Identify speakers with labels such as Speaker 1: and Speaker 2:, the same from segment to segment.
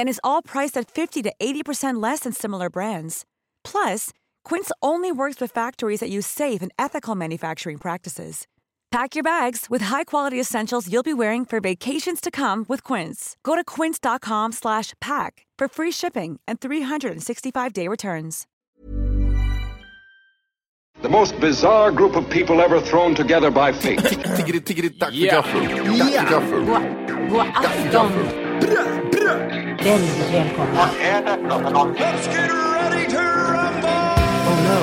Speaker 1: And is all priced at 50 to 80% less than similar brands. Plus, Quince only works with factories that use safe and ethical manufacturing practices. Pack your bags with high-quality essentials you'll be wearing for vacations to come with Quince. Go to quince.com slash pack for free shipping and 365-day returns.
Speaker 2: The most bizarre group of people ever thrown together by fate.
Speaker 3: Tiggeri, tiggeri, tack för gaffel. Tack för gaffel.
Speaker 4: God afton! Väldigt välkomna.
Speaker 5: Oh no,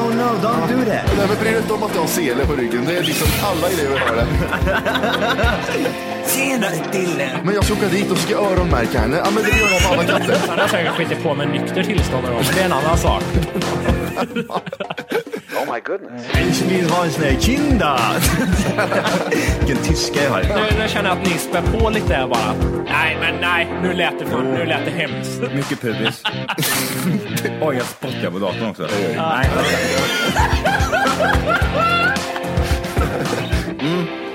Speaker 5: oh no, don't do that.
Speaker 3: Nej, men bry dig inte om att jag har sele på ryggen. Det är liksom alla elever har det.
Speaker 5: Tjena Dille!
Speaker 3: Men jag ska åka dit och ska öronmärka henne. Ja, men det gör jag på alla katter.
Speaker 6: Han har säkert skitit på med nykter tillstånd någon gång, men det är en annan sak.
Speaker 5: Ich vill ha en sån här kinda. Vilken tyska jag har.
Speaker 6: Nu, nu känner jag att ni spär på lite här bara. Nej, men nej, nu lät det, för, nu lät det hemskt.
Speaker 7: Mycket pubis. Oj, jag spottar på datorn också.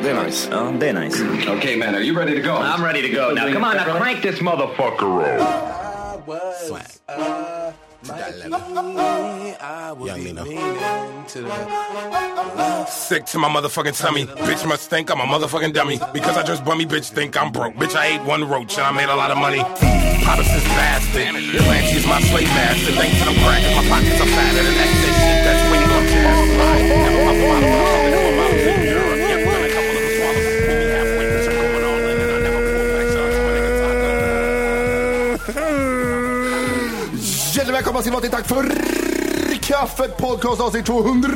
Speaker 3: Det är nice.
Speaker 7: Ja, det är nice.
Speaker 2: okay, man, are you ready to go?
Speaker 7: I'm ready to go now. Come on, now crank this motherfucker up.
Speaker 8: Sick to my motherfucking tummy. Bitch must think I'm a motherfucking dummy. Because I just bummy, bitch think I'm broke. Bitch, I ate one roach and I made a lot of money. Papa says bastard. Atlante's my slave master. Thanks to the crack in my pockets, I'm fatter than that shit. That's when you gon' test. Never my father, my father, never my mother. Europe, yeah, when a couple of us swallows, we be halfway, bitch, I'm going all in and I never pull back, so I just wanna get tied up.
Speaker 3: Hjärtligt välkomna till Tack för kaffet podcast avsnitt 200.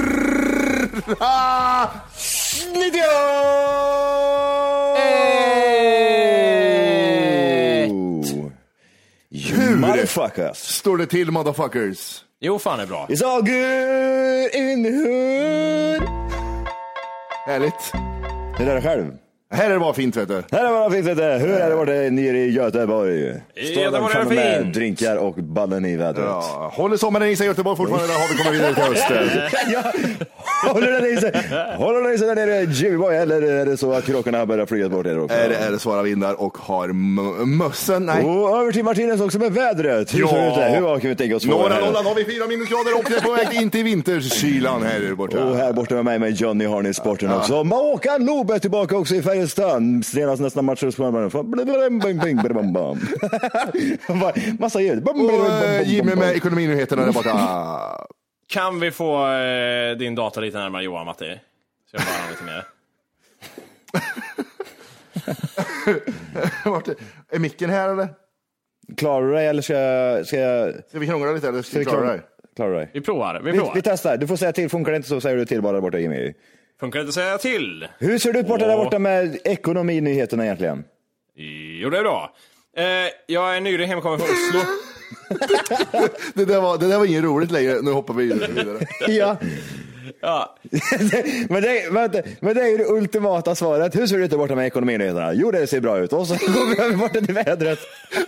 Speaker 7: You motherfuckers.
Speaker 3: Står det till motherfuckers?
Speaker 6: Jo, fan det är bra.
Speaker 7: It's all good in the hood.
Speaker 3: Härligt.
Speaker 7: Det där är själv.
Speaker 3: Här är det bara fint vet du.
Speaker 7: Här är vad det finns lite. Hur är det varit nere i Göteborg?
Speaker 8: Göteborg är det
Speaker 7: framme med
Speaker 8: fint.
Speaker 7: drinkar och ballen i vädret.
Speaker 3: Ja, håller sommaren i sig i Göteborg fortfarande eller har vi kommit vidare till hösten?
Speaker 7: Ja, håller den i sig? Håller den i sig där nere Jimmy Boy eller är det så att kråkorna har börjat flyga bort er också?
Speaker 3: Är det, är det svåra vindar och har mö- mössen? Nej.
Speaker 7: Och över till Martinez också med vädret. Oh. Hur ser det ut där? Hur kan vi tänka oss få det
Speaker 3: Norra
Speaker 7: här?
Speaker 3: Norrland har vi fyra minusgrader och det är på väg in till vinterkylan här borta.
Speaker 7: Och Oh, här borta med mig med Johnny Harney Sporten också. Håkan Loob är tillbaka också i Färjestad. Senast nästa match så spelar man- Blablabla, bing, bing, bam, bam. Massa ljud. Bam, bam, bam,
Speaker 3: Och
Speaker 7: bam, bam,
Speaker 3: eh,
Speaker 7: bam.
Speaker 3: Jimmy med ekonominyheterna där borta.
Speaker 6: Kan vi få eh, din dator lite närmare Johan, Matti? Så jag bara har lite mer.
Speaker 3: Vart är- är micken här eller?
Speaker 7: Klarar du dig eller ska jag... Ska jag...
Speaker 3: Ska vi krångla lite eller ska
Speaker 7: Ska
Speaker 3: vi
Speaker 7: vi
Speaker 3: klara det
Speaker 7: klara,
Speaker 3: här?
Speaker 7: klarar du dig?
Speaker 6: Vi provar, vi
Speaker 7: Vi,
Speaker 6: provar.
Speaker 7: vi testar. Du får säga till. Funkar det inte så säger du till bara där borta Jimmy.
Speaker 6: Funkar det inte att säga till?
Speaker 7: Hur ser det ut borta där
Speaker 6: Åh.
Speaker 7: borta med ekonominyheterna egentligen?
Speaker 6: Jo, det är bra. Eh, jag är nyligen hemkommen från Oslo.
Speaker 3: Det där var, det där var inget roligt längre, nu hoppar vi vidare.
Speaker 7: Ja,
Speaker 6: Ja,
Speaker 7: men det, vänta, men det är ju det ultimata svaret. Hur ser det ut där borta med ekonominyheterna? Jo, det ser bra ut. Och så går vi över borta till vädret.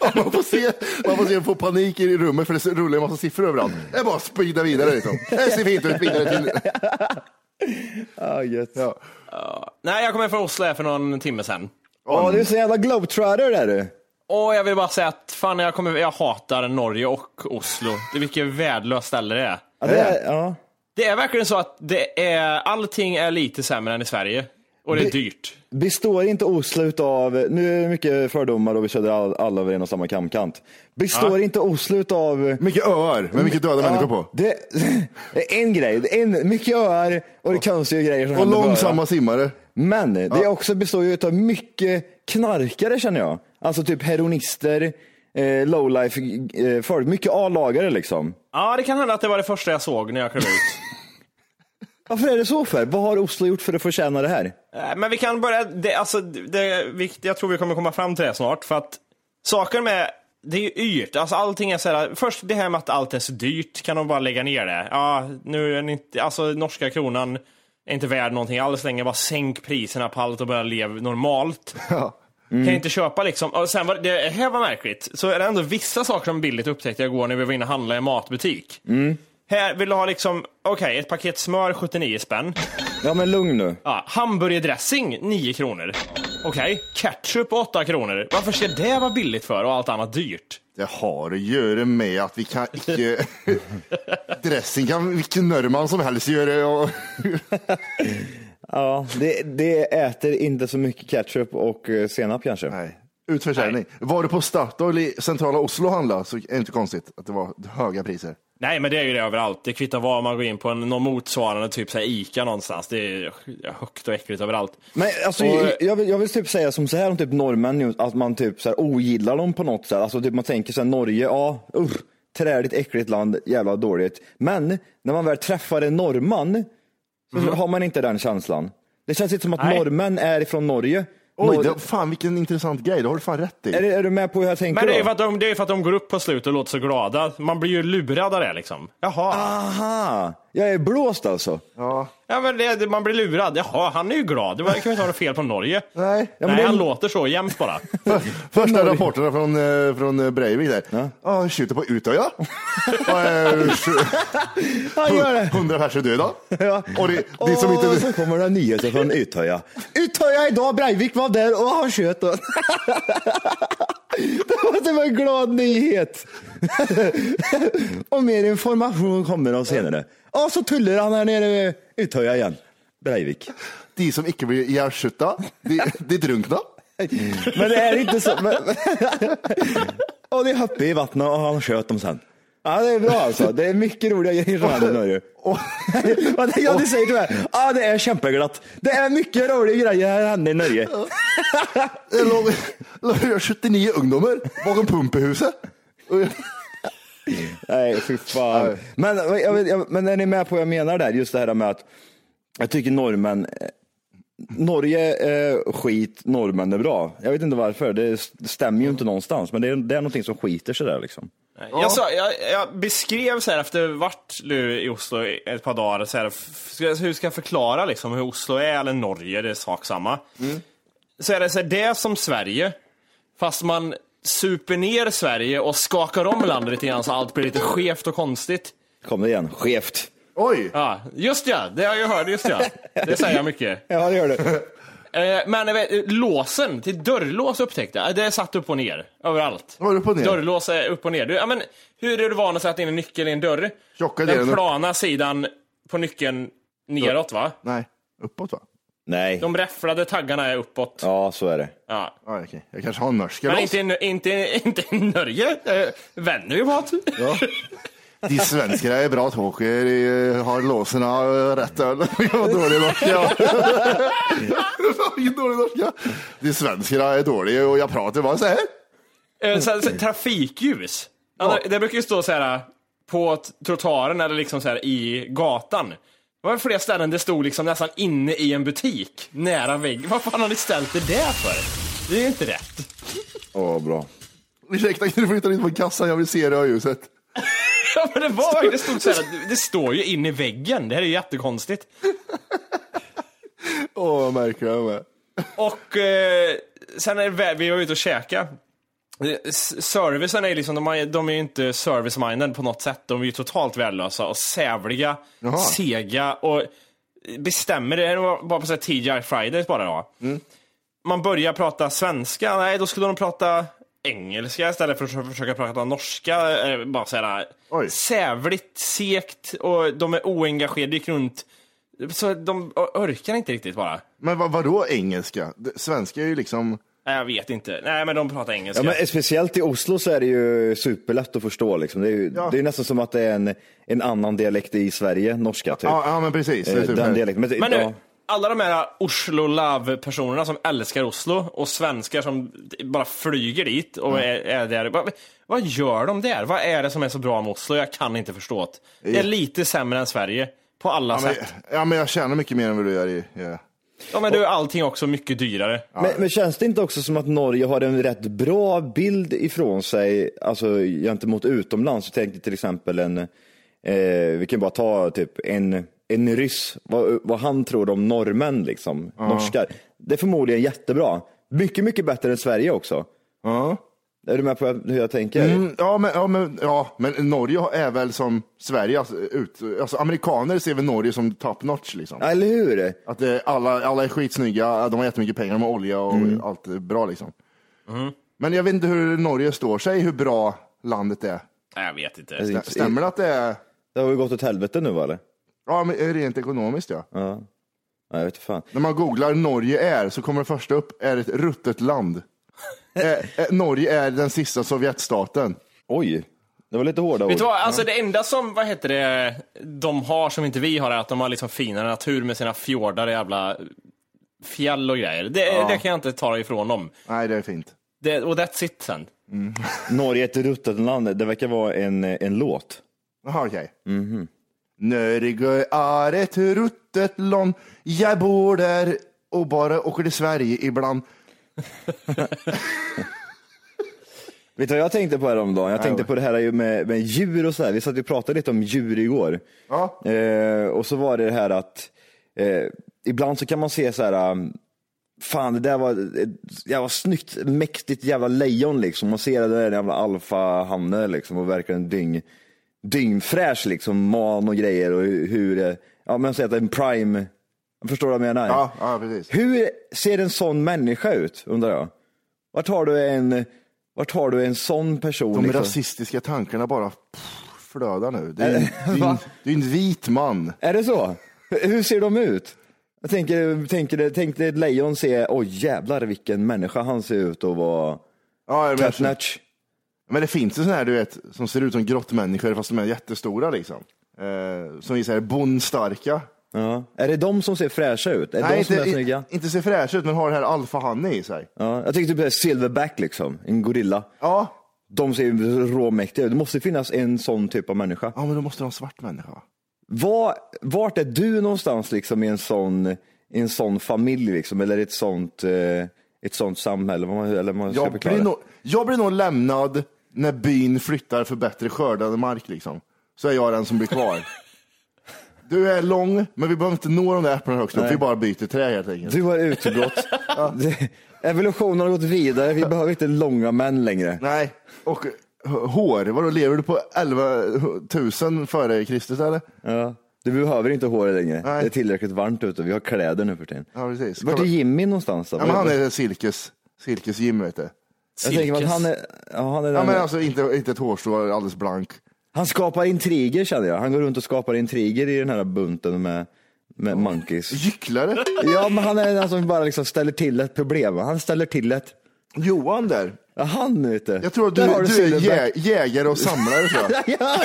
Speaker 3: Ja, man får se, man får se, få panik i rummet för det rullar en massa siffror överallt. Det är bara att speeda vidare liksom. Det ser fint ut, vidare till...
Speaker 7: Ah, gött. Ja.
Speaker 6: nej, jag kom hem från Oslo här för någon timme sedan.
Speaker 7: Åh, du är så jävla globetrotter där du.
Speaker 6: Och jag vill bara säga att fan, jag, kommer, jag hatar Norge och Oslo. Det är vilket värdelöst ställe det är.
Speaker 7: Ja, det är, ja.
Speaker 6: Det är verkligen så att det är, allting är lite sämre än i Sverige. Och det är dyrt.
Speaker 7: Består inte Oslo av, nu är det mycket fördomar och vi känner all- alla över en och samma kamkant. Består inte Oslo av
Speaker 3: Mycket öar med mycket döda människor på.
Speaker 7: Det, det är en grej, det är en, mycket öar och det är konstiga grejer som
Speaker 3: Och
Speaker 7: händer på öar.
Speaker 3: långsamma simmare.
Speaker 7: Men det är också består ju av mycket knarkare känner jag. Alltså typ heroinister, eh, lowlife eh, förut. Mycket A-lagare liksom.
Speaker 6: Ja, det kan hända att det var det första jag såg när jag klev ut.
Speaker 7: Varför är det så för? Vad har Oslo gjort för att förtjäna det här?
Speaker 6: Eh, Men vi kan börja, det, alltså, det, vi, jag tror vi kommer komma fram till det snart, för att saken med, det är ju yrt, alltså allting är så här, först det här med att allt är så dyrt, kan de bara lägga ner det? Ja, nu är ni inte, alltså norska kronan är inte värd någonting alls längre, bara sänk priserna på allt och börja leva normalt. Kan inte köpa liksom. Och sen var det, det här var märkligt, så är det ändå vissa saker som billigt upptäckte jag igår när vi var inne och handlade i en matbutik. Här vill du ha liksom, okej, ett paket smör 79 spänn.
Speaker 7: Ja men lugn nu.
Speaker 6: Ja, hamburgerdressing 9 kronor. Okej, ketchup 8 kronor. Varför ska det vara billigt för och allt annat dyrt?
Speaker 3: Det har att göra med att vi kan icke... Dressing kan vilken norrman som helst göra. Och...
Speaker 7: Ja, det, det äter inte så mycket ketchup och eh, senap kanske.
Speaker 3: Nej. Utförsäljning. Var du på Statoil i centrala Oslo och handlade så är det inte konstigt att det var höga priser.
Speaker 6: Nej, men det är ju det överallt. Det kvittar var man går in på en, någon motsvarande, typ så här Ica någonstans. Det är högt och äckligt överallt.
Speaker 7: Men alltså,
Speaker 6: Och-
Speaker 7: jag- jag, vill, jag vill typ säga som så här om typ norrmän, ju, att man typ så här ogillar dem på något sätt. Alltså typ man tänker så här, Norge, ja, uh, träligt, äckligt land, jävla dåligt. Men när man väl träffar en norrman så har man inte den känslan. Det känns inte som att
Speaker 6: Mm. Nej.
Speaker 7: norrmän är från Norge.
Speaker 3: Oj,
Speaker 7: Nor-
Speaker 3: det, fan vilken intressant grej. Det har du fan rätt i.
Speaker 7: är, du- är du med på hur jag tänker
Speaker 6: Men det är ju
Speaker 7: då?
Speaker 6: för att de, det är för att de går upp på slutet och låter så glada. Man blir ju lurad av det liksom. Jaha.
Speaker 7: Aha, jag är blåst alltså.
Speaker 6: Ja, men det, det- man blir lurad. Jaha, han är ju glad. Det var- det kan ju inte ha något fel på Norge.
Speaker 3: Nej.
Speaker 7: Ja, men
Speaker 6: Nej,
Speaker 7: det-
Speaker 6: han låter så jämt bara.
Speaker 3: Första rapporterna från, eh, från eh, Breivik där. Ja, han skjuter på Utøya. Och, eh,
Speaker 7: Han gör det.
Speaker 3: 100 personer döda. Och det, det som
Speaker 7: Åh,
Speaker 3: inte...
Speaker 7: så kommer det nyheter från Utöja. Utöja idag, Breivik var där och han sköt. Och... det, var, det var en glad nyhet. och mer information kommer av senare. Och så tullar han här nere vid Utöja igen. Breivik.
Speaker 3: De som icke blir ihjälskjutna, de, de drunkna.
Speaker 7: Men det är inte så. Men... och de hoppade i vattnet och han sköt dem sen. Ja, det är bra alltså. Det är mycket roliga grejer som händer i Norge. Ja, det- ja, det säger till mig. Ja, det är kämpeglatt. Det är mycket roliga grejer som händer i Norge.
Speaker 3: Det låg, låg 79 ungdomar bakom pumpehuset.
Speaker 7: Nej, fy fan. Men, jag, vet- jag, men är ni med på vad jag menar där? Just det här med att jag tycker norrmän, eh, Norge är skit, norrmän är bra. Jag vet inte varför, det stämmer ju inte någonstans, men det är, det är någonting som skiter sig där liksom.
Speaker 6: Jag, sa, jag, jag beskrev så här efter vart nu i Oslo i ett par dagar, så här, f- ska, hur ska jag förklara liksom hur Oslo är eller Norge, det är sak samma. Så är det så här, det är som Sverige, fast man super ner Sverige och skakar om landet lite grann så allt blir lite skevt och konstigt.
Speaker 7: Kom det igen, skevt.
Speaker 3: Oj!
Speaker 6: Ja, just ja, det har jag hört, just ja. Det säger jag mycket.
Speaker 7: Ja, det gör det.
Speaker 6: Eh, Men jag vet, låsen till dörrlås upptäckte jag. Det är satt upp och ner överallt.
Speaker 3: Var det upp och ner?
Speaker 6: Dörrlås är upp och ner. Du, ja, men, hur är du van att sätta in en nyckel i en dörr?
Speaker 3: Tjocka
Speaker 6: Den
Speaker 3: delen.
Speaker 6: plana sidan på nyckeln neråt va?
Speaker 3: Nej, uppåt va?
Speaker 7: Nej,
Speaker 6: De räfflade taggarna är uppåt.
Speaker 7: ja så är det.
Speaker 6: Ja.
Speaker 3: Ja, okej. Jag kanske har en norsk
Speaker 6: Men
Speaker 3: ras.
Speaker 6: inte, i- inte, inte i Norge. Eh, Vänner ju vad?
Speaker 3: De svenskar är bra att åka, de har låsen av rätt öl. Vad dålig norska. Vilken dålig norska. De svenskar är dåliga och jag pratar bara så här.
Speaker 6: Eh, så, så, trafikljus. Alltså, Det brukar ju stå så här på t- trottoaren eller liksom så här i gatan. Det var flera ställen det stod liksom nästan inne i en butik, nära väggen. Vad fan har ni ställt det där för? Det är ju inte rätt.
Speaker 7: Åh, bra.
Speaker 3: Ursäkta, kan du flytta in på kassan? Jag vill se rödljuset.
Speaker 6: Ja, men det var verkligen- det stod så här, det står ju inne i väggen. Det här är ju jättekonstigt.
Speaker 3: Åh, vad märklig jag är med.
Speaker 6: Och eh, sen är det, vä- vi var ute och käka. Eh, s- Servicen är ju liksom, de, har, de är ju inte service-minded på något sätt. De är ju totalt värdelösa och sävliga,
Speaker 3: Jaha.
Speaker 6: sega och bestämmer. Det här var bara på så här TGI Fridays bara då.
Speaker 3: Mm.
Speaker 6: Man börjar prata svenska, nej då skulle de prata engelska istället för att försöka- försöka prata norska. Eh, Bara såhär
Speaker 3: Oj.
Speaker 6: sävligt, segt och de är oengagerade, gick runt. Så de orkar inte riktigt bara.
Speaker 3: Men vad, vadå engelska? Det- Svenska är ju liksom...
Speaker 6: Nej, jag vet inte. Nej, men de pratar engelska.
Speaker 7: Ja, men speciellt i Oslo så är det ju superlätt att förstå. Liksom. Det, är ju,
Speaker 3: Ja.
Speaker 7: det är nästan som att det är en, en annan dialekt i Sverige, norska typ.
Speaker 3: Ja, ja men precis. Det är typ
Speaker 7: Eh,
Speaker 3: super.
Speaker 7: Den dialekten. Men,
Speaker 6: Men nu,
Speaker 7: ja.
Speaker 6: alla de här Oslo Love-personerna som älskar Oslo och svenskar som bara flyger dit och är, är där. Vad, vad gör de där? Vad är det som är så bra med Oslo? Jag kan inte förstå det. Det är lite sämre än Sverige på alla
Speaker 3: Ja men,
Speaker 6: sätt.
Speaker 3: ja, men jag tjänar mycket mer än vad du gör i... eh, Ja.
Speaker 6: Ja, men du, allting är också mycket dyrare.
Speaker 7: Men, men känns det inte också som att Norge har en rätt bra bild ifrån sig, alltså gentemot utomlands? Jag tänkte till exempel en, eh, vi kan bara ta typ en, en ryss, vad, vad han tror om norrmän liksom, norskar. Det är förmodligen jättebra. Mycket, mycket bättre än Sverige också.
Speaker 3: Ja.
Speaker 7: Är du med på hur jag tänker?
Speaker 3: Mm, ja, men, ja, men, ja, men Norge är väl som Sverige, alltså, ut, alltså amerikaner ser väl Norge som top notch liksom.
Speaker 7: Ja, Eller hur?
Speaker 3: Att eh, alla, alla är skitsnygga, eh, de har jättemycket pengar, de har olja och
Speaker 7: Mm.
Speaker 3: allt är bra liksom. Men jag vet inte hur Norge står sig, hur bra landet är.
Speaker 6: Nej, jag vet inte.
Speaker 3: Stä- Stämmer det att det är,
Speaker 7: Det har ju gått åt helvete nu va, eller?
Speaker 3: ja men rent ekonomiskt ja.
Speaker 7: Ja. Nej, jag vet inte fan.
Speaker 3: När man googlar Norge är så kommer det första upp, är ett ruttet land. eh, eh, Norge är den sista Sovjetstaten.
Speaker 7: Oj, det var lite hårda ord.
Speaker 6: Vet du vad, alltså det enda som, vad heter det, de har som inte vi har är att de har liksom finare natur med sina fjordar och jävla fjäll och grejer. Det, det kan jag inte ta ifrån dem.
Speaker 3: Nej, det är fint.
Speaker 6: Det, och that's it sen.
Speaker 7: Norge är ett ruttet land, det verkar vara en, en låt.
Speaker 3: Jaha, okej.
Speaker 7: Mhm.
Speaker 3: Norge är ett ruttet land. Jag bor där och bara åker till Sverige ibland.
Speaker 7: Vet du vad jag tänkte på häromdagen? Jag tänkte på det här ju med, med djur och sådär. Vi satt och pratade lite om djur igår.
Speaker 3: Ja.
Speaker 7: Eh, och så var det det här att eh, ibland så kan man se så här, um, fan det där var ett jävla snyggt, mäktigt jävla lejon liksom. Man ser det där jävla alfahannen liksom och verkligen dyng, dyngfräsch liksom, man och grejer och hur, hur eh, ja men säg att en prime, förstår du vad jag menar?
Speaker 3: Ja, ja precis.
Speaker 7: Hur ser en sån människa ut, undrar jag? Vart har du en, vart har du en sån person?
Speaker 3: De
Speaker 7: liksom?
Speaker 3: rasistiska tankarna bara pff, flödar nu. Det är,
Speaker 7: Eh,
Speaker 3: en, det, är en, det är en vit man.
Speaker 7: Är det så? Hur ser de ut? Jag tänker, tänker, det- tänk dig ett lejon se, oj jävlar vilken människa han ser ut och vara
Speaker 3: Ja, jag menar,
Speaker 7: Catnatch.
Speaker 3: men det finns ju sådana här du vet, som ser ut som grottmänniskor fast de är jättestora liksom. Eh, som visar bondstarka.
Speaker 7: Ja. Är det de som ser fräscha ut? Är det de
Speaker 3: Nej,
Speaker 7: som
Speaker 3: inte,
Speaker 7: är snygga?
Speaker 3: i- inte ser fräscha ut men har det här alfahanne i sig.
Speaker 7: Ja. Jag tänker typ så här silverback liksom, en gorilla.
Speaker 3: Ja,
Speaker 7: De ser ju råmäktiga ut. Det måste finnas en sån typ av människa.
Speaker 3: ja men då måste de ha en svart människa.
Speaker 7: Var, vart är du någonstans liksom i en sån, i en sån familj liksom, eller ett sånt, eh, ett sånt samhälle? Vad man, eller vad man ska
Speaker 3: Jag
Speaker 7: förklara.
Speaker 3: blir, nog, jag blir nog lämnad när byn flyttar för bättre skördade mark. Liksom. Så är jag den som blir kvar. du är lång, men vi behöver inte nå de där äpplena högst upp. Vi bara byter trä helt enkelt.
Speaker 7: Du har utbrott. Det- Evolutionen har gått vidare, vi behöver inte långa män längre.
Speaker 3: Nej, och h- hår. Vadå, lever du på 11 000 före Kristus eller?
Speaker 7: Ja. Du behöver inte håret längre,
Speaker 3: Nej.
Speaker 7: det är tillräckligt varmt ute, vi har kläder nu för tiden.
Speaker 3: Ja, precis.
Speaker 7: Vart är
Speaker 3: Kolla.
Speaker 7: Jimmy någonstans då?
Speaker 3: Ja, men han är cirkus, cirkus Jim, vet du.
Speaker 7: Jag tänker mig att han är, ja, han, är
Speaker 3: Ja,
Speaker 7: den,
Speaker 3: men alltså inte, inte ett hårstrå, alldeles blank.
Speaker 7: han skapar intriger känner jag, han går runt och skapar intriger i den här bunten med, med monkeys.
Speaker 3: Gycklare.
Speaker 7: Ja, men han är den som bara liksom ställer till ett problem. Han ställer till ett.
Speaker 3: Johan där.
Speaker 7: Ja, han vet du.
Speaker 3: Jag tror att du,
Speaker 7: Där har
Speaker 3: du är
Speaker 7: Silverback.
Speaker 3: jä, jägare och samlare. Tror jag.
Speaker 7: Ja.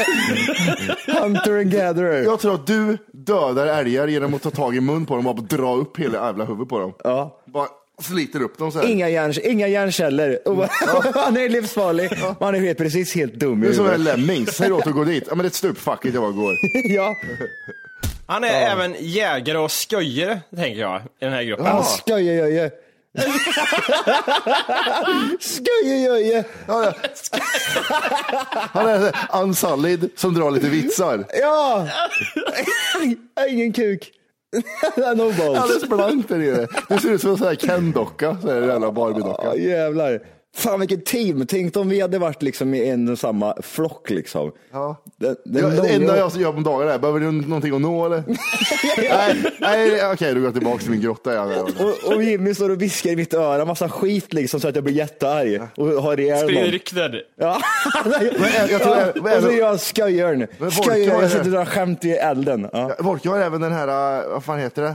Speaker 7: Hunter and gatherer.
Speaker 3: Jag tror att du dödar älgar genom att ta tag i mun på dem och bara dra upp hela jävla huvudet på dem.
Speaker 7: Ja.
Speaker 3: Bara sliter upp dem så här.
Speaker 7: Inga, hjärn, inga hjärnceller. Och bara- han är livsfarlig. Och Han är helt, precis helt dum i
Speaker 3: Det är som en
Speaker 7: huvudet.
Speaker 3: lemming, säger åt att gå dit. Ja, men det är ett stup, fuck it, jag bara går.
Speaker 7: Ja.
Speaker 6: Han är även jägare och sköjare, tänker jag, i den här gruppen.
Speaker 7: Han skojejöje. skojejöje.
Speaker 3: Han är en unsolid som drar lite vitsar.
Speaker 7: Ja. Ingen kuk. no balls.
Speaker 3: Alldeles blankt där nere. Du ser ut som en sån här Ken-docka, så här jävla Barbie-docka.
Speaker 7: Ja, jävlar. Fan vilket team. Tänk om vi hade varit liksom i en och samma flock liksom.
Speaker 3: Ja.
Speaker 7: Den,
Speaker 3: Ja,
Speaker 7: den
Speaker 3: det enda
Speaker 7: långa...
Speaker 3: jag gör på dagarna är, behöver du någonting att nå eller? nej, nej, okej, då går jag tillbaka till min grotta. Ja,
Speaker 7: och, och Jimmy står och viskar i mitt öra massa skit liksom så att jag blir jättearg och har ihjäl
Speaker 6: Sprider
Speaker 7: någon.
Speaker 6: rykten.
Speaker 7: Ja.
Speaker 3: jag- jag tror-
Speaker 7: Ja,
Speaker 3: men-
Speaker 7: och så är jag skojörn.
Speaker 3: Men folk
Speaker 7: Skojörn,
Speaker 3: har-
Speaker 7: jag sitter och drar skämt i elden. Ja.
Speaker 3: Volke har även den här, eh, vad fan heter det?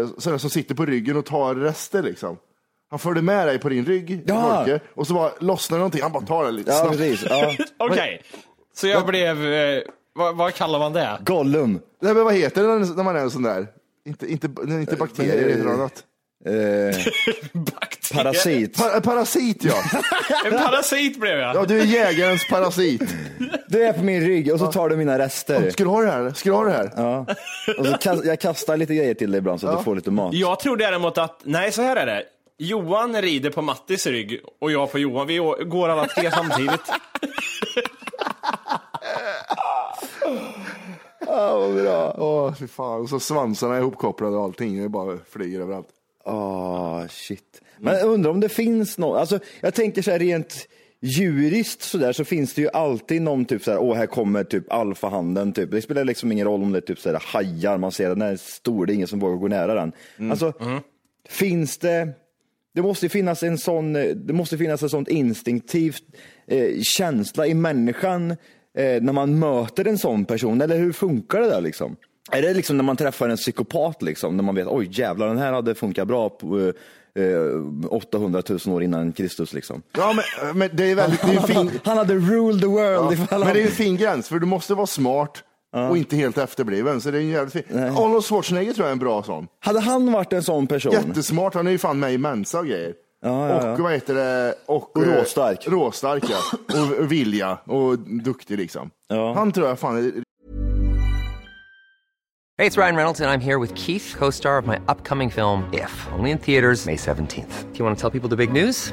Speaker 3: Eh, Sådana som sitter på ryggen och tar rester liksom. Han förde med dig på din rygg,
Speaker 7: Ja.
Speaker 3: Volke, och så bara lossnade någonting. Han bara tar den lite
Speaker 7: Ja,
Speaker 3: snabbt.
Speaker 7: precis. Ja.
Speaker 6: Okej, så jag blev, eh, vad, vad kallar man det?
Speaker 7: Gollum.
Speaker 3: Nej, men vad heter det när- när man är en sån där? Inte, inte, nej, inte bakterier, heter det något
Speaker 7: Eh, parasit.
Speaker 3: Pa- eh, parasit, ja.
Speaker 6: En parasit blev jag.
Speaker 3: ja. Du är jägarens parasit.
Speaker 7: Mm. Du är på min rygg och så tar du mina rester.
Speaker 3: Ska du ha det här? Ska du ha det här?
Speaker 7: Ja. Och så kast, jag kastar lite grejer till dig ibland så att du får lite mat.
Speaker 6: Jag tror däremot att, nej så här är det. Johan rider på Mattis rygg och jag på Johan. Vi å- går alla tre samtidigt.
Speaker 7: Ja, vad bra.
Speaker 3: Åh, fy fan. Och så svansarna är ihopkopplade och allting. Det bara flyger överallt.
Speaker 7: Ah, shit. Men jag undrar om det finns något. Alltså, jag tänker så här rent djuriskt så där så finns det ju alltid någon typ så här, åh här kommer typ alfahanden typ. Det spelar liksom ingen roll om det är typ så här hajar, man ser den är stor, det är ingen som vågar gå nära den. Alltså, finns det, det måste ju finnas en sån, eh, det måste finnas en sån instinktiv eh, känsla i människan eh, när man möter en sån person, eller hur funkar det där liksom? Är det liksom när man träffar en psykopat, liksom, när man vet oj jävlar den här hade funkat bra på, eh, eh, 800 000 år innan Kristus? Liksom.
Speaker 3: Ja, men, men det är väldigt... Det är ju fin...
Speaker 7: Han hade ruled the world
Speaker 3: Ja,
Speaker 7: ifall
Speaker 3: men det
Speaker 7: han...
Speaker 3: är ju en fin gräns, för du måste vara smart och inte helt efterbliven. Så det är en jävligt fin. Arnold Schwarzenegger tror jag är en bra sån.
Speaker 7: Hade han varit en sån person?
Speaker 3: Jättesmart, han är ju fan med i Mensa och grejer. och vad heter det? Och,
Speaker 7: Och råstark.
Speaker 3: eh, Råstark, ja. Och, och vilja och duktig liksom. Han tror jag fan är
Speaker 9: Hey, it's Ryan Reynolds, and I'm here with Keith, co star of my upcoming film, If, only in theaters, May 17th. Do you want to tell people the big news?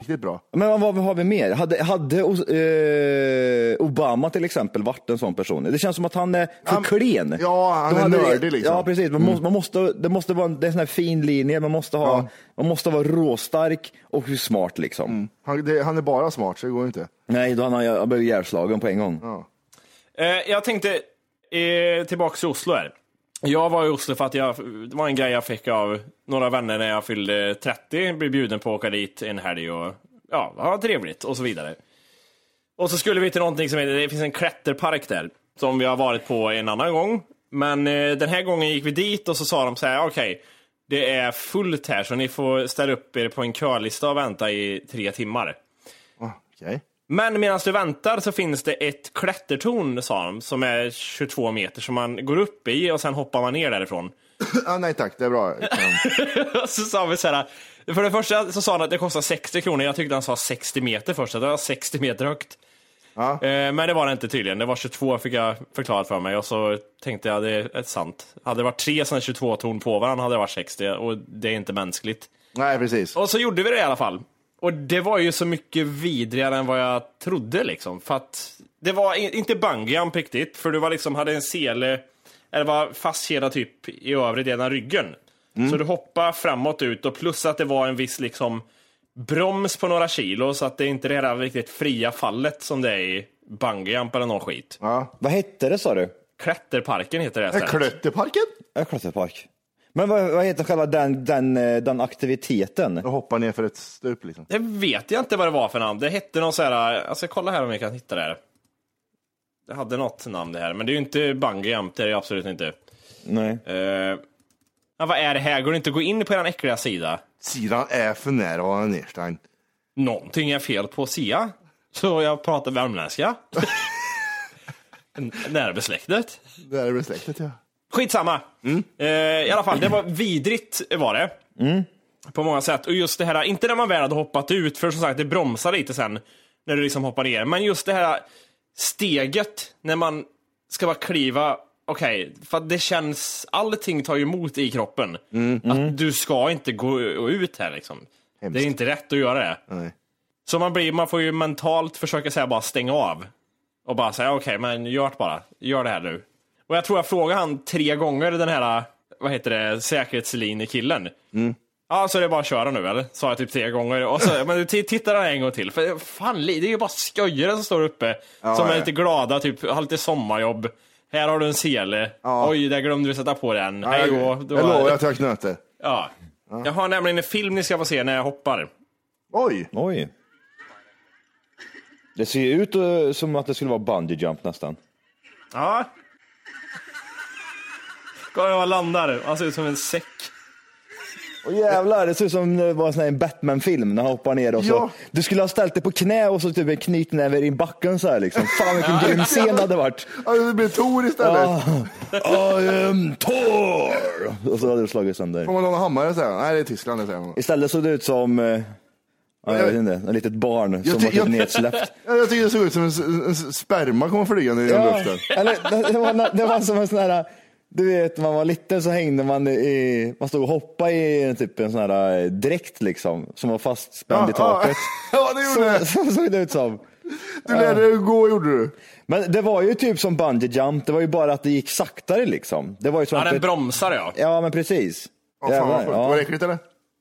Speaker 3: riktigt bra.
Speaker 7: Men vad, vad har vi mer? Hade, hade eh, Obama till exempel varit en sån person? Det känns som att han är för
Speaker 3: Han-
Speaker 7: klen.
Speaker 3: Ja, han
Speaker 7: Då
Speaker 3: är
Speaker 7: hade det-
Speaker 3: nördig liksom.
Speaker 7: Ja, precis. Man måste, man måste, det måste vara en, det är en sån här fin linje. Man måste, ha, man måste vara råstark och smart liksom.
Speaker 3: Han, det, han är bara smart, så det går ju inte.
Speaker 7: Nej, då hade han jag blivit ihjälslagen på en gång. Ja.
Speaker 6: Eh, jag tänkte eh, tillbaka till Oslo här. Jag var i Oslo för att jag, det var en grej jag fick av några vänner när jag fyllde 30. Blev bjuden på att åka dit en helg och ja, ha trevligt och så vidare. Och så skulle vi till någonting som heter, det finns en klätterpark där. Som vi har varit på en annan gång. Men eh, den här gången gick vi dit och så sa de så här, okej, det är fullt här så ni får ställa upp er på en kölista och vänta i tre timmar.
Speaker 3: Okej.
Speaker 6: Men medan du väntar så finns det ett klättertorn, sa de, som är 22 meter som man går upp i och sen hoppar man ner därifrån.
Speaker 3: Ah, nej tack, det är bra.
Speaker 6: Och så sa vi så här, för det första så sa han att det kostar 60 kronor, jag tyckte han sa 60 meter först, att det var 60 meter högt.
Speaker 3: Ja.
Speaker 6: Eh, Men det var det inte tydligen, det var 22 fick jag förklarat för mig och så tänkte jag det är sant. Hade det varit tre sådana 22 torn på varandra hade det varit 60 och det är inte mänskligt.
Speaker 3: Nej, precis.
Speaker 6: Och så gjorde vi det i alla fall. Och det var ju så mycket vidrigare än vad jag trodde liksom. För att det var i- inte bungyjump riktigt, för du var liksom, hade en sele, eller var fastkedjad typ i övre delen av ryggen. Så du hoppade framåt ut och plus att det var en viss liksom broms på några kilo så att det är inte det där riktigt fria fallet som det är i bungyjump eller någon skit.
Speaker 7: Vad hette det sa du?
Speaker 6: Klätterparken heter det här
Speaker 3: Är
Speaker 6: stället.
Speaker 3: Klötterparken?
Speaker 7: Ja, Klätterpark. Men vad, vad heter själva den, den, eh, den aktiviteten?
Speaker 3: Jag hoppar ner för ett stup liksom.
Speaker 6: Det vet jag inte vad det var för namn. Det hette någon så här, jag ska kolla här om jag kan hitta det här. Det hade något namn det här, men det är ju inte bungee jump, det är det absolut inte.
Speaker 7: Nej.
Speaker 6: Eh, ja, vad är det här? Går det inte att gå in på den äckliga sida?
Speaker 3: Sidan är för nära Nerstein.
Speaker 6: Någonting är fel på Sia. Så jag pratar värmländska. N- Nära besläktet.
Speaker 3: Det är väl släktet ja.
Speaker 6: Skitsamma. Eh, I alla fall, det var vidrigt var det. På många sätt. Och just det här, inte när man väl hade hoppat ut, för som sagt det bromsar lite sen när du liksom hoppar ner. Men just det här steget när man ska bara kliva, okej, för att det känns, allting tar ju emot i kroppen. Att du ska inte gå ut här liksom. Det är inte rätt att göra det. Så man, blir, man får ju mentalt försöka säga bara stänga av. Och bara säga okej, men gör det bara. Gör det här nu. Och jag tror jag frågade han tre gånger, den här, vad heter det, säkerhetslinjekillen.
Speaker 5: Mm.
Speaker 6: Ja, så det är bara att köra nu eller? Sa jag typ tre gånger. Och så, men t- tittar han en gång till. För fan, li- det är ju bara sköjare som står uppe.
Speaker 5: Ja,
Speaker 6: som är
Speaker 5: ja.
Speaker 6: lite glada, typ har lite sommarjobb. Här har du en sele. Oj, där glömde du sätta på den.
Speaker 3: Ja,
Speaker 6: Hej
Speaker 3: jag,
Speaker 6: då.
Speaker 3: jag
Speaker 6: Det var-
Speaker 3: lovar att jag knöter.
Speaker 6: Ja. Jag har nämligen en film ni ska få se när jag hoppar.
Speaker 3: Oj!
Speaker 7: Oj. Det ser ju ut eh, som att det skulle vara bungee jump nästan.
Speaker 6: Ja. Kolla hur han landar. Han ser ut som en säck.
Speaker 7: Åh jävlar, det ser ut som det var en sån här Batman-film när han hoppar ner och så.
Speaker 6: Ja.
Speaker 7: Du skulle ha ställt dig på knä och så typ en knytnäve i backen så här liksom. Fan vilken grym scen det hade varit.
Speaker 3: Ja, det blir Tor istället.
Speaker 7: Ah, I am Thor! Och så hade du slagit sönder.
Speaker 3: Får man låna hammare säger han. Nej, det är Tyskland det säger han.
Speaker 7: Istället såg det ut som, eh, ja, jag vet inte, ett litet barn som
Speaker 3: ty-
Speaker 7: var typ nedsläppt.
Speaker 3: Ja, jag tycker det såg ut som en, s- en s- sperma kom flygande genom luften.
Speaker 7: Eller, det, det, var, det var som en sån här, du vet när man var liten så hängde man i, man stod och hoppade i en typ en sån här eh, dräkt liksom, som var fastspänd
Speaker 3: Ja,
Speaker 7: i taket.
Speaker 3: ja, det gjorde
Speaker 7: så, så såg det ut som.
Speaker 3: Du lärde dig att gå gjorde du.
Speaker 7: Men det var ju typ som bungee jump, det var ju bara att det gick saktare liksom. Det var ju som
Speaker 6: Ja,
Speaker 7: att
Speaker 6: den
Speaker 7: det,
Speaker 6: bromsar ja.
Speaker 7: Ja men precis.
Speaker 3: Ja, fan, vad
Speaker 7: Jävlar,
Speaker 3: sjukt. Var det äckligt eller?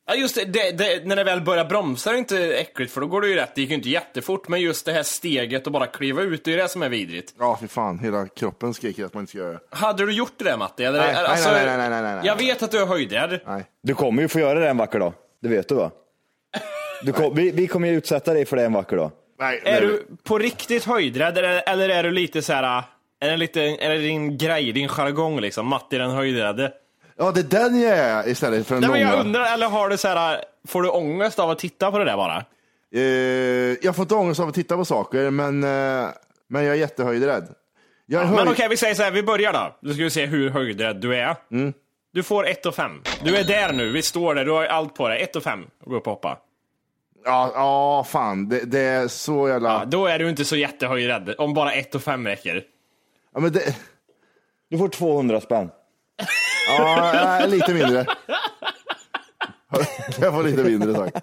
Speaker 6: Ja, just det, det, det. När det väl börjar bromsa är det inte äckligt, för då går det ju rätt. Det gick ju inte jättefort, men just det här steget och bara kliva ut, det är ju det som är vidrigt.
Speaker 3: Ja, för fan. Hela kroppen skriker att man inte ska göra det.
Speaker 6: Hade du gjort det där Matti? Eller, alltså,
Speaker 3: Nej, nej, nej, nej, nej, nej, nej, nej.
Speaker 6: Jag vet att du är höjdrädd.
Speaker 7: Du kommer ju få göra det en vacker dag, det vet du va? Du kom, vi, vi kommer ju utsätta dig för det en vacker dag.
Speaker 3: Nej,
Speaker 6: Är du på riktigt höjdrädd eller, eller är du lite så här... Är det, lite, är det din grej, din jargong liksom? Matti den höjdrädde.
Speaker 3: Ja, det är den jag är istället för den
Speaker 6: Nej, men jag
Speaker 3: långa.
Speaker 6: undrar, eller har du så här, får du ångest av att titta på det där bara?
Speaker 3: Eh, jag får inte ångest av att titta på saker, men, eh, men jag är jättehöjdrädd. Jag är
Speaker 6: Men
Speaker 3: höjd-
Speaker 6: okej, vi säger så här, vi börjar då. Nu ska vi se hur höjdrädd du är.
Speaker 3: Mm.
Speaker 6: Du får 1 och 5. Du är där nu, vi står där, du har allt på dig. 1 och 5, gå upp och hoppa.
Speaker 3: Ja, ja, fan. Det, det är så jävla... Ja,
Speaker 6: Då är du inte så jättehöjdrädd, om bara 1 och 5 räcker.
Speaker 3: men det...
Speaker 7: Du får 200 spänn.
Speaker 3: Ja, nej, lite mindre. Jag får lite mindre tack.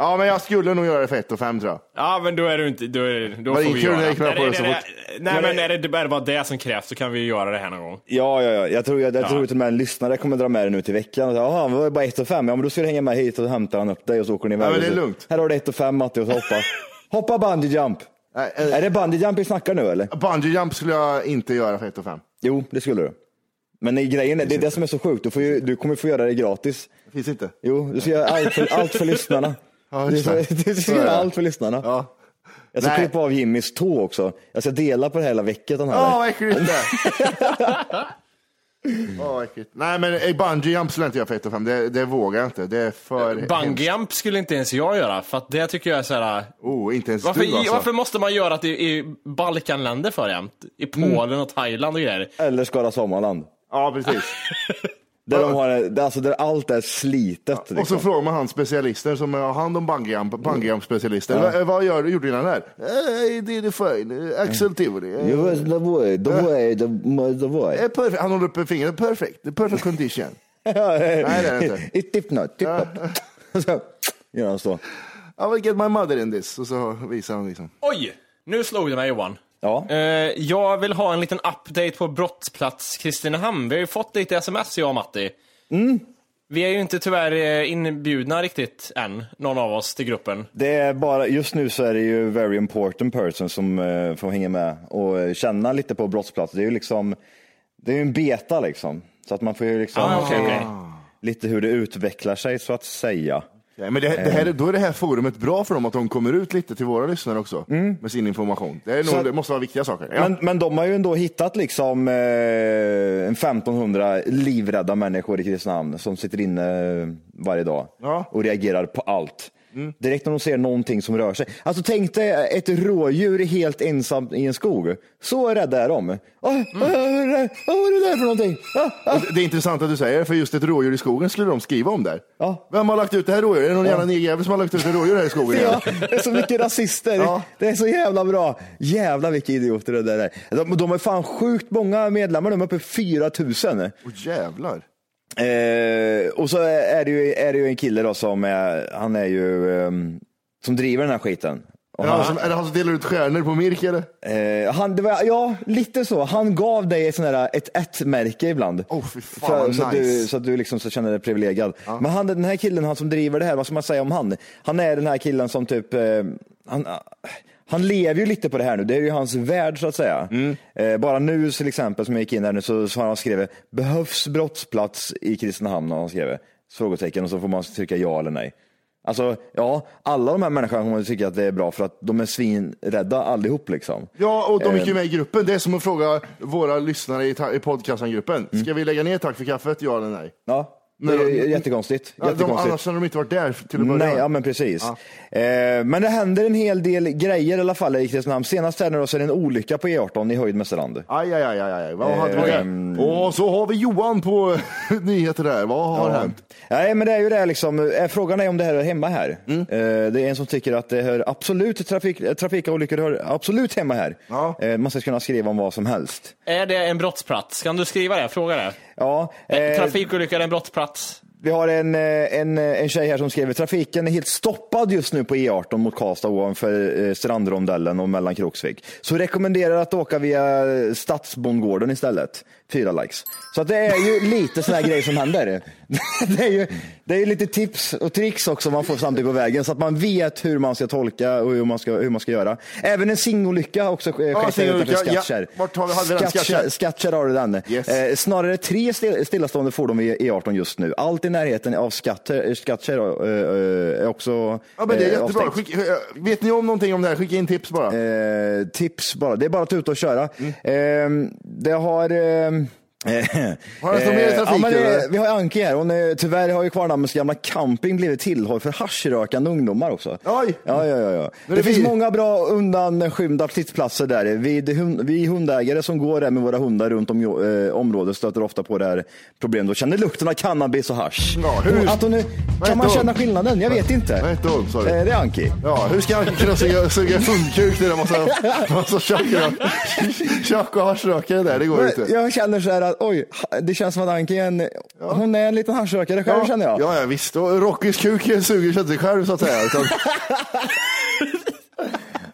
Speaker 3: Ja, men jag skulle nog göra det för 1 och 5 tror jag.
Speaker 6: Ja, men då är du inte... Då, är, då
Speaker 3: Vad
Speaker 6: får vi
Speaker 3: gick kul
Speaker 6: göra
Speaker 3: när jag gick med på det
Speaker 6: Nej, nej,
Speaker 3: så
Speaker 6: nej,
Speaker 3: fort.
Speaker 6: Nej,
Speaker 3: Men
Speaker 6: men
Speaker 3: det-
Speaker 6: är det bara vad det som krävs så kan vi göra det här någon gång.
Speaker 7: Ja, ja, ja. Jag tror, jag, jag
Speaker 6: Ja.
Speaker 7: tror till och med en lyssnare kommer dra med dig nu till veckan. Och säga, Jaha, men det var bara 1 och 5. Ja, men då ska du hänga med hit och så hämtar han upp dig och så åker ni iväg.
Speaker 3: men det är
Speaker 7: Och så-
Speaker 3: lugnt.
Speaker 7: Här har du 1 och 5 Matti och så hoppa. hoppa bungee jump.
Speaker 3: Äh,
Speaker 7: Är det bungee jump vi snackar nu eller?
Speaker 3: Bungee jump skulle jag inte göra för 1 och 5.
Speaker 7: Jo, det skulle du. Men nej, grejen är, det är det som är så sjukt. Du, får ju, du kommer få göra det gratis.
Speaker 3: Det finns inte.
Speaker 7: Jo, du ska göra allt för, allt för lyssnarna.
Speaker 3: Ja,
Speaker 7: du
Speaker 3: just
Speaker 7: ska,
Speaker 3: det.
Speaker 7: du
Speaker 3: Så
Speaker 7: ska
Speaker 3: är
Speaker 7: göra
Speaker 3: det.
Speaker 7: allt för lyssnarna.
Speaker 3: Ja.
Speaker 7: Jag ska
Speaker 3: Nej.
Speaker 7: klippa av Jimmys tå också. Jag ska dela på det hela vecket. Den här.
Speaker 3: Ja, vad äckligt det är. Åh, vad äckligt. Nej, men eh, bungee jump skulle jag inte göra för 1 och 5. Det, det vågar jag inte. Det är
Speaker 6: Eh,
Speaker 3: för hemskt.
Speaker 6: Bungyjump skulle inte ens jag göra, för att det tycker jag är så här... äh,
Speaker 3: Oh, inte ens
Speaker 6: Varför,
Speaker 3: du alltså.
Speaker 6: varför måste man göra det i, i Balkanländer för jämt? I
Speaker 3: Mm.
Speaker 6: Polen och Thailand och grejer.
Speaker 7: Eller Skara Sommarland.
Speaker 3: Ja, precis.
Speaker 7: Där, de har, där, alltså, där allt är slitet. Liksom.
Speaker 3: Och så frågar man han specialister som har hand om bungyjump, bungyjump specialister.
Speaker 7: Ja.
Speaker 3: Vad, vad gör, gjorde innan där? Eh, det är det fine. Eh, Axel Tivoli. Eh,
Speaker 7: Jo, det var det, var det, var
Speaker 3: eh, perfect. Han håller uppe fingret. Perfect. The perfect condition. Nej, det är det inte.
Speaker 7: It tip not, tip not. Och så Gör han så.
Speaker 3: I will get my mother in this. Och så visar han liksom.
Speaker 6: Oj! Nu slog det mig Johan.
Speaker 7: Ja.
Speaker 6: Eh, jag vill ha en liten update på brottsplats Kristinehamn. Vi har ju fått lite sms jag och Matti.
Speaker 7: Mm.
Speaker 6: Vi är ju inte tyvärr eh, inbjudna riktigt än, någon av oss, till gruppen.
Speaker 7: Det är bara, just nu så är det ju very important person som eh, får hänga med och eh, känna lite på brottsplats. Det är ju liksom, det är ju en beta liksom. Så att man får ju liksom
Speaker 6: Ah, okej,
Speaker 7: se
Speaker 6: okej.
Speaker 7: lite hur det utvecklar sig så att säga.
Speaker 3: Ja, men det, det
Speaker 7: Eh.
Speaker 3: här, då är det här forumet bra för dem, att de kommer ut lite till våra lyssnare också med sin information. Det, är nog,
Speaker 7: Mm. Så-
Speaker 3: det måste vara viktiga saker. Ja.
Speaker 7: Men, men de har ju ändå hittat liksom eh, en 1500 livrädda människor i Kristinehamn som sitter inne eh, varje dag
Speaker 3: Ja. Mm.
Speaker 7: och reagerar på allt. Direkt när de ser någonting som rör sig. Alltså tänk dig ett rådjur helt ensamt i en skog. Så rädda är de. Ah,
Speaker 3: Mm.
Speaker 7: ah, vad är det där? Ah, vad är det där för någonting? Ah, ah.
Speaker 3: Och det- det är intressant att du säger det, för just ett rådjur i skogen skulle de skriva om där.
Speaker 7: Ja.
Speaker 3: Vem har lagt ut det här rådjuret? Är det någon
Speaker 7: Ja.
Speaker 3: jävla negerjävel som har lagt ut ett rådjur här i skogen?
Speaker 7: Ja, det är så mycket rasister.
Speaker 3: Ja.
Speaker 7: Det är så jävla bra. Jävla vilka idioter det där är. De, de har fan sjukt många medlemmar, de är uppe i 4000.
Speaker 3: Åh jävlar.
Speaker 7: Eh, och så är det, ju, är det ju en kille då som är, han är ju, ehm, som driver den här skiten. Och
Speaker 3: Är det han som- är det han som delar ut stjärnor på Mirk eller?
Speaker 7: Eh, han, det var, ja, lite så. Han gav dig ett sån där, ett ett-märke ibland.
Speaker 3: Oh, fy fan, vad
Speaker 7: så, att du,
Speaker 3: nice.
Speaker 7: så att du liksom så känner dig privilegierad. Men han, den här killen han som driver det här, vad ska man säga om han? Han är den här killen som typ, eh, han, han lever ju lite på det här nu. Det är ju hans värld så att säga.
Speaker 3: Mm.
Speaker 7: Eh, bara nu till exempel som jag gick in här nu så, så har han skrivit, behövs brottsplats i Kristinehamn? Har han skrivit. Frågetecken och så får man trycka ja eller nej. Alltså, ja, alla de här människorna kommer att tycka att det är bra för att de är svinrädda allihop liksom.
Speaker 3: Ja, och de gick ju
Speaker 7: Eh,
Speaker 3: med i gruppen. Det är som att fråga våra lyssnare i, ta- i podcastgruppen.
Speaker 7: Mm.
Speaker 3: Ska vi lägga ner Tack för kaffet? Ja eller nej?
Speaker 7: Ja, det
Speaker 3: Nej,
Speaker 7: är
Speaker 3: de-
Speaker 7: jättekonstigt.
Speaker 3: Ja, de,
Speaker 7: jättekonstigt.
Speaker 3: annars hade de inte varit där till att börja
Speaker 7: Nej,
Speaker 3: med.
Speaker 7: ja men precis. Eh, men det händer en hel del grejer i alla fall i Kristinehamn. Senast här nu då så är det en olycka på E18 i höjd med Sörand.
Speaker 3: Aj, aj, aj, aj, aj. Vad hade
Speaker 7: Eh,
Speaker 3: vi
Speaker 7: mm.
Speaker 3: där? Och så har vi Johan på nyheter där. Vad har
Speaker 7: Ja.
Speaker 3: hänt?
Speaker 7: Nej, men det är ju det här liksom. eh, Frågan är om det här är hemma här. Eh, Det är en som tycker att det hör absolut, trafik, eh, trafikolyckor hör absolut hemma här. Eh, Man ska kunna skriva om vad som helst.
Speaker 6: Är det en brottsplats? Kan du skriva det? Fråga det.
Speaker 7: Ja, eh,
Speaker 6: Trafikolycka är en brottsplats.
Speaker 7: Vi har en, eh, en, eh, en tjej här som skriver trafiken är helt stoppad just nu på E18 mot Karlstad ovanför eh, Strandrondellen och mellan Kroksvik. Så rekommenderar att åka via eh, Stadsbondgården istället. Fyra likes. Så att det är ju lite sådana grejer som händer. Det är ju det är ju lite tips och tricks också man får samtidigt på vägen så att man vet hur man ska tolka och hur man ska, hur man ska göra. Även en singolycka har också eh, skett här
Speaker 3: singolycka,
Speaker 7: utanför
Speaker 3: ja.
Speaker 7: Skattkärr.
Speaker 3: Vart har vi- hade vi den?
Speaker 7: Skattkärr-
Speaker 3: Skattkärr?
Speaker 7: Skattkärr har du den. Eh, snarare tre still- stillastående fordon vid E18 just nu. Allt i närheten av Skattkärr Skattkärr, eh, eh, är också
Speaker 3: Ja, men det är
Speaker 7: eh,
Speaker 3: jättebra.
Speaker 7: avstängt.
Speaker 3: Skick, eh, vet ni om någonting om det här? Skicka in tips bara.
Speaker 7: Eh, tips bara. Det är bara att tuta och köra. Eh, det har... ehm,
Speaker 3: Har det något mer i
Speaker 7: eh, ja,
Speaker 3: trafiken,
Speaker 7: men det,
Speaker 3: eller?
Speaker 7: vi har Anki här. Hon, är- tyvärr har ju kvarndammens gamla camping blivit tillhåll för haschrökande ungdomar också.
Speaker 3: Oj!
Speaker 7: Ja, ja, ja, ja.
Speaker 3: Nu är
Speaker 7: Det,
Speaker 3: det
Speaker 7: finns
Speaker 3: vi.
Speaker 7: många bra undanskymda sittplatser där. Vi, det hund, vi hundägare som går där med våra hundar runt om eh, området stöter ofta på det här problemet och känner lukten av cannabis och hasch.
Speaker 3: hur-
Speaker 7: Att hon, nu-
Speaker 3: Vad
Speaker 7: kan
Speaker 3: heter
Speaker 7: man
Speaker 3: hon?
Speaker 7: känna skillnaden? Jag vet inte.
Speaker 3: Vad hette hon? Sorry.
Speaker 7: Eh, Det är Anki.
Speaker 3: Ja, hur ska han kunna suga, suga hundkuk när det är massa, massa tjack och- tjack och haschrökare där? Det går ju
Speaker 7: Men
Speaker 3: inte.
Speaker 7: Jag känner så här att oj, ha- det känns som att Anki är en, hon är en liten haschrökare själv känner jag.
Speaker 3: Ja, ja visst. Och Rockys kuk suger sig inte själv så att säga. Utan,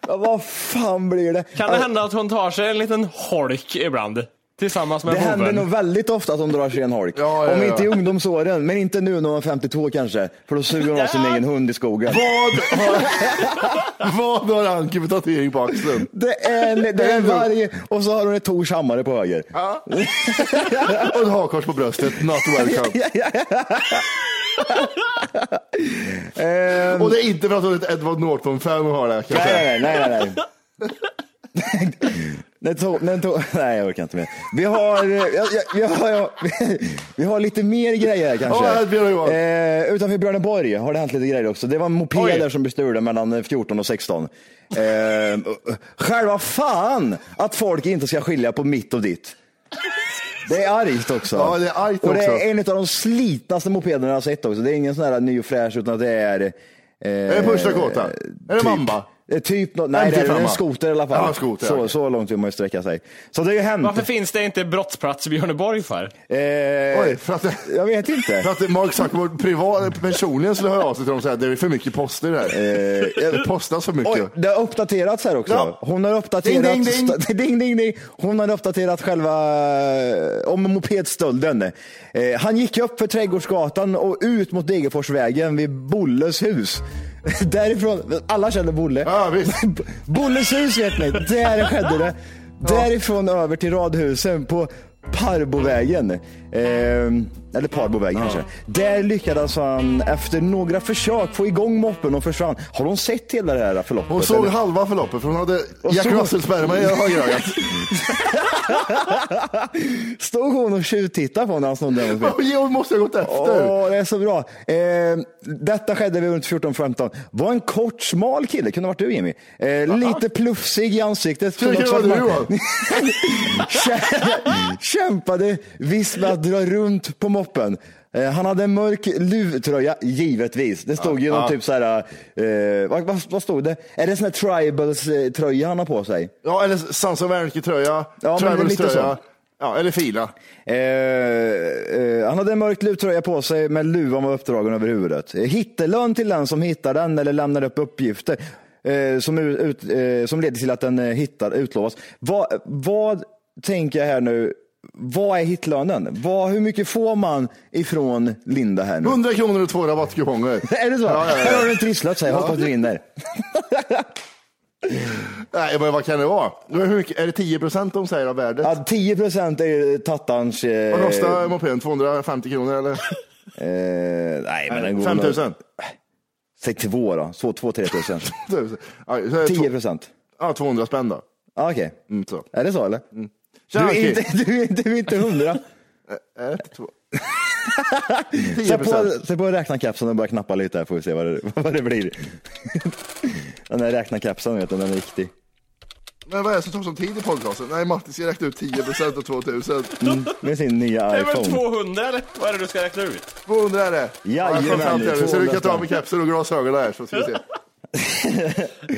Speaker 7: Ja, Vad fan blir det?
Speaker 6: Kan det hända att hon tar sig en liten holk ibland? Tillsammans med
Speaker 7: Det händer
Speaker 6: boven?
Speaker 7: nog väldigt ofta att hon drar sig en holk.
Speaker 3: Ja, ja,
Speaker 7: Om
Speaker 3: ja.
Speaker 7: inte i ungdomsåren, men inte nu när hon är 52 kanske. För då suger hon av sin egen hund i skogen.
Speaker 3: vad, har, vad har Anki för tatuering på axeln?
Speaker 7: Det är, en, det är en varg och så har hon ett Tors hammare på höger.
Speaker 3: Och ett hakkors på bröstet. Not welcome.
Speaker 7: Ehm,
Speaker 3: Och det är inte för att hon är ett Edward Norton-fan och har det. Kan jag säga.
Speaker 7: nej, nej, nej, nej. nej. Den tog, den tog, nej, jag orkar inte mer. Vi har, eh, jag, jag, jag, jag, vi har lite mer grejer här kanske.
Speaker 3: Ja, här blir det, Johan.
Speaker 7: eh, utanför Björneborg har det hänt lite grejer också. Det var en moped
Speaker 6: Oj.
Speaker 7: där som blev stulen mellan eh, 14 och 16. Eh, själva fan att folk inte ska skilja på mitt och ditt. Det är argt också.
Speaker 3: Ja, det är argt
Speaker 7: och det
Speaker 3: också.
Speaker 7: är en av de slitaste mopederna jag har sett också. Det är ingen sån här ny och fräsch utan att det är... eh,
Speaker 3: Är det Push Dakota? Är det
Speaker 7: typ.
Speaker 3: Mamba?
Speaker 7: Eh, Typ något, nej det är
Speaker 3: 55.
Speaker 7: en skoter i alla fall.
Speaker 3: Ja, skoter,
Speaker 7: så,
Speaker 3: okej.
Speaker 7: så långt vill man ju sträcka sig. Så det har ju hänt.
Speaker 6: Varför finns det inte brottsplats i Björneborg för?
Speaker 7: Eh,
Speaker 3: Oj, för att, det-
Speaker 7: Jag vet inte.
Speaker 3: för att Mark Zuckerberg privat, personligen skulle höra av sig till dem och säga det är för mycket poster här. Det postas för mycket.
Speaker 7: Eh, Oj, det har uppdaterats här också.
Speaker 3: Ja.
Speaker 7: Hon har uppdaterat,
Speaker 3: Ding, ding,
Speaker 7: ding, ding, ding. Hon har uppdaterat själva eh, om mopedstölden. Eh, han gick upp för Trädgårdsgatan och ut mot Degerforsvägen vid Bolles hus. Därifrån, alla känner Bolle.
Speaker 3: Ja, visst.
Speaker 7: Bolles hus vet ni, där skedde det. Därifrån över till radhusen på Parbovägen. Eh, eller Parbovägen kanske. Där lyckades han efter några försök få igång moppen och försvann. Har hon sett hela det här förloppet?
Speaker 3: Hon såg
Speaker 7: eller?
Speaker 3: halva förloppet för hon hade
Speaker 7: Och
Speaker 3: Jack
Speaker 7: såg-
Speaker 3: Russell-sperma i högerögat.
Speaker 7: Stod hon och tjuvtittade på när han snodde den?
Speaker 3: Oj, Hon måste ha gått efter.
Speaker 7: Åh, det är så bra. Eh, detta skedde vid runt 14-15. Var en kort, smal kille, kunde ha varit du Jimmy. Eh, lite plufsig i ansiktet.
Speaker 3: Skulle kunna
Speaker 7: Kunde
Speaker 3: vara
Speaker 7: också
Speaker 3: du,
Speaker 7: Kä- Kämpade visst med att dra runt på moppen. Eh, Han hade en mörk luvtröja, givetvis. Det stod ju någon typ så här, eh, vad, vad, vad stod det? Är det sån här tribals eh, tröja han har på sig?
Speaker 3: Ja, eller Sansa Wernicke-tröja,
Speaker 7: Ja, men det är lite
Speaker 3: Travels-tröja.
Speaker 7: så.
Speaker 3: Ja, eller fila.
Speaker 7: Eh, eh, han hade hade en mörk luvtröja på sig med luvan var uppdragen över huvudet. Eh, Hittelön till den som hittar den eller lämnar upp uppgifter eh, som, ut, eh, som leder till att den eh, hittar, utlovas. Vad, vad tänker jag här nu? Vad är hittlönen? Vad, hur mycket får man ifrån Linda här nu?
Speaker 3: 100 kronor och två rabattkuponger.
Speaker 7: Är det så?
Speaker 3: Ja, ja, ja.
Speaker 7: Här har du en trisslott säger jag. Hoppas du vinner.
Speaker 3: Nej, men vad kan det vara? Hur mycket, är det 10 procent de säger av värdet?
Speaker 7: Ja, 10 procent är ju tattarns... eh,
Speaker 3: Vad kostar mopeden? 250 kronor eller?
Speaker 7: Eh, nej, men den går
Speaker 3: 5 000?
Speaker 7: nog- Säg två då, så två, tre tusen. 10
Speaker 3: 10
Speaker 7: procent.
Speaker 3: Ja, 200 spänn då.
Speaker 7: Ah, Okej,
Speaker 3: Mm, så.
Speaker 7: är det så eller? Du,
Speaker 3: Tja,
Speaker 7: är
Speaker 3: okej.
Speaker 7: inte, du, är inte, du är inte hundra.
Speaker 3: Ett, två.
Speaker 7: Sätt
Speaker 3: 10
Speaker 7: på,
Speaker 3: procent.
Speaker 7: sätt på räknarkepsen och börja knappa lite här får vi se vad det, vad det blir. den där räknarkepsen vet du, den är viktig.
Speaker 3: Men vad är det som tar sån tid i podcasten? Nej, Martin ska räkna ut 10 procent av 2000.
Speaker 7: Mm, med sin
Speaker 6: Det
Speaker 7: nya
Speaker 6: är väl
Speaker 7: iPhone.
Speaker 6: 200 eller? Vad är det du ska räkna ut?
Speaker 3: 200 är det.
Speaker 7: Jajamän,
Speaker 3: jag kom fram till det nu, så du
Speaker 7: 200
Speaker 3: kan ta av
Speaker 7: spänn.
Speaker 3: mig kepsen och glasögonen här så ska vi se.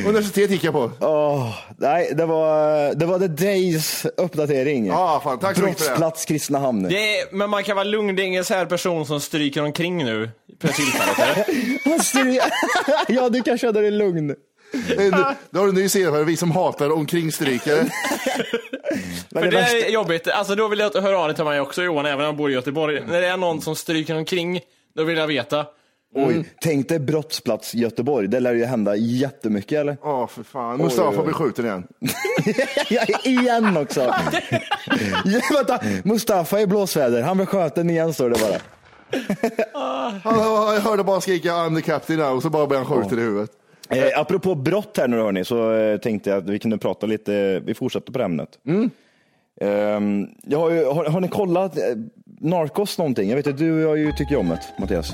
Speaker 3: Universitet gick jag på.
Speaker 7: Åh, nej, det var, det var The Days uppdatering.
Speaker 3: Ja, fan, tack så mycket för det.
Speaker 7: Brottsplats Kristinehamn.
Speaker 6: Det är, men man kan vara lugn, det är ingen så här person som stryker omkring nu för tillfället. eller?
Speaker 7: Alltså, det- ja, du kan köra dig lugn.
Speaker 3: Eh, nu- Då har du en ny erfarenhet, vi som hatar omkringstrykare.
Speaker 7: Men
Speaker 6: För
Speaker 7: det
Speaker 6: det
Speaker 7: värsta-
Speaker 6: är jobbigt. Alltså då vill jag att- höra av dig till mig också Johan, även om jag bor i Göteborg. När det är någon som stryker omkring, då vill jag veta.
Speaker 7: Oj, Mm. tänk dig brottsplats Göteborg. Det lär ju hända jättemycket eller?
Speaker 3: Ja, för fan.
Speaker 7: Oj,
Speaker 3: Mustafa
Speaker 7: oj.
Speaker 3: blir skjuten igen.
Speaker 7: igen också. ja, vänta, Mustafa i blåsväder. Han blev skjuten igen står det bara.
Speaker 3: Han, jag hörde bara skrika I'm the captain now och så bara blev han skjuten i huvudet.
Speaker 7: Eh, apropå brott här nu hörni, så eh, tänkte jag att vi kunde prata lite, vi fortsätter på det ämnet. Ehm, jag har, ju, har, har ni kollat eh, Narcos någonting? Jag vet att du har ju tycker om det, Mattias.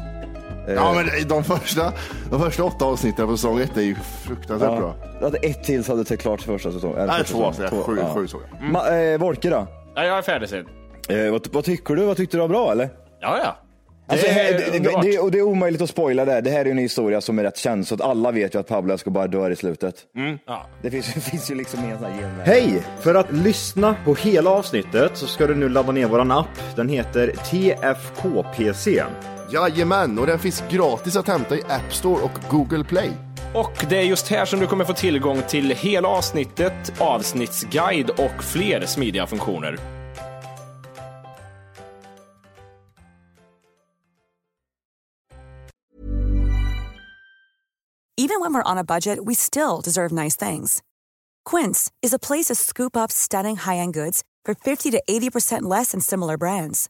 Speaker 3: Ja, men de första, de första åtta avsnitten på säsong ett är ju fruktansvärt bra.
Speaker 7: Att ett till så hade sett klart första säsongen. eller
Speaker 3: Nej,
Speaker 7: första
Speaker 3: två
Speaker 7: säsongen.
Speaker 3: avsnitt. Sju,
Speaker 7: ja.
Speaker 3: sju såg jag. Mm.
Speaker 7: Ma, eh, Wolke då?
Speaker 6: Ja, jag är färdig sen.
Speaker 7: Eh, vad, vad tycker du? Vad tyckte du var bra eller?
Speaker 6: Ja, ja. Det
Speaker 7: Alltså, det,
Speaker 6: är
Speaker 7: det, det,
Speaker 6: underbart.
Speaker 7: det, och det är omöjligt att spoila det. här. Det här är ju en historia som är rätt känd, så att alla vet ju att Pablo Escobar dör i slutet.
Speaker 6: Ja.
Speaker 7: Det finns, det finns ju liksom ingen sån här genväg.
Speaker 5: Mm. Hej! För att lyssna på hela avsnittet så ska du nu ladda ner våran app. Den heter TFKPC.
Speaker 3: Jajamän, och den finns gratis att hämta i App Store och Google Play.
Speaker 6: Och det är just här som du kommer få tillgång till hela avsnittet, avsnittsguide och fler smidiga funktioner.
Speaker 1: Even when we're on a budget, we still deserve nice things. Quince is a place to scoop up stunning high-end goods for 50 to 80% less than similar brands.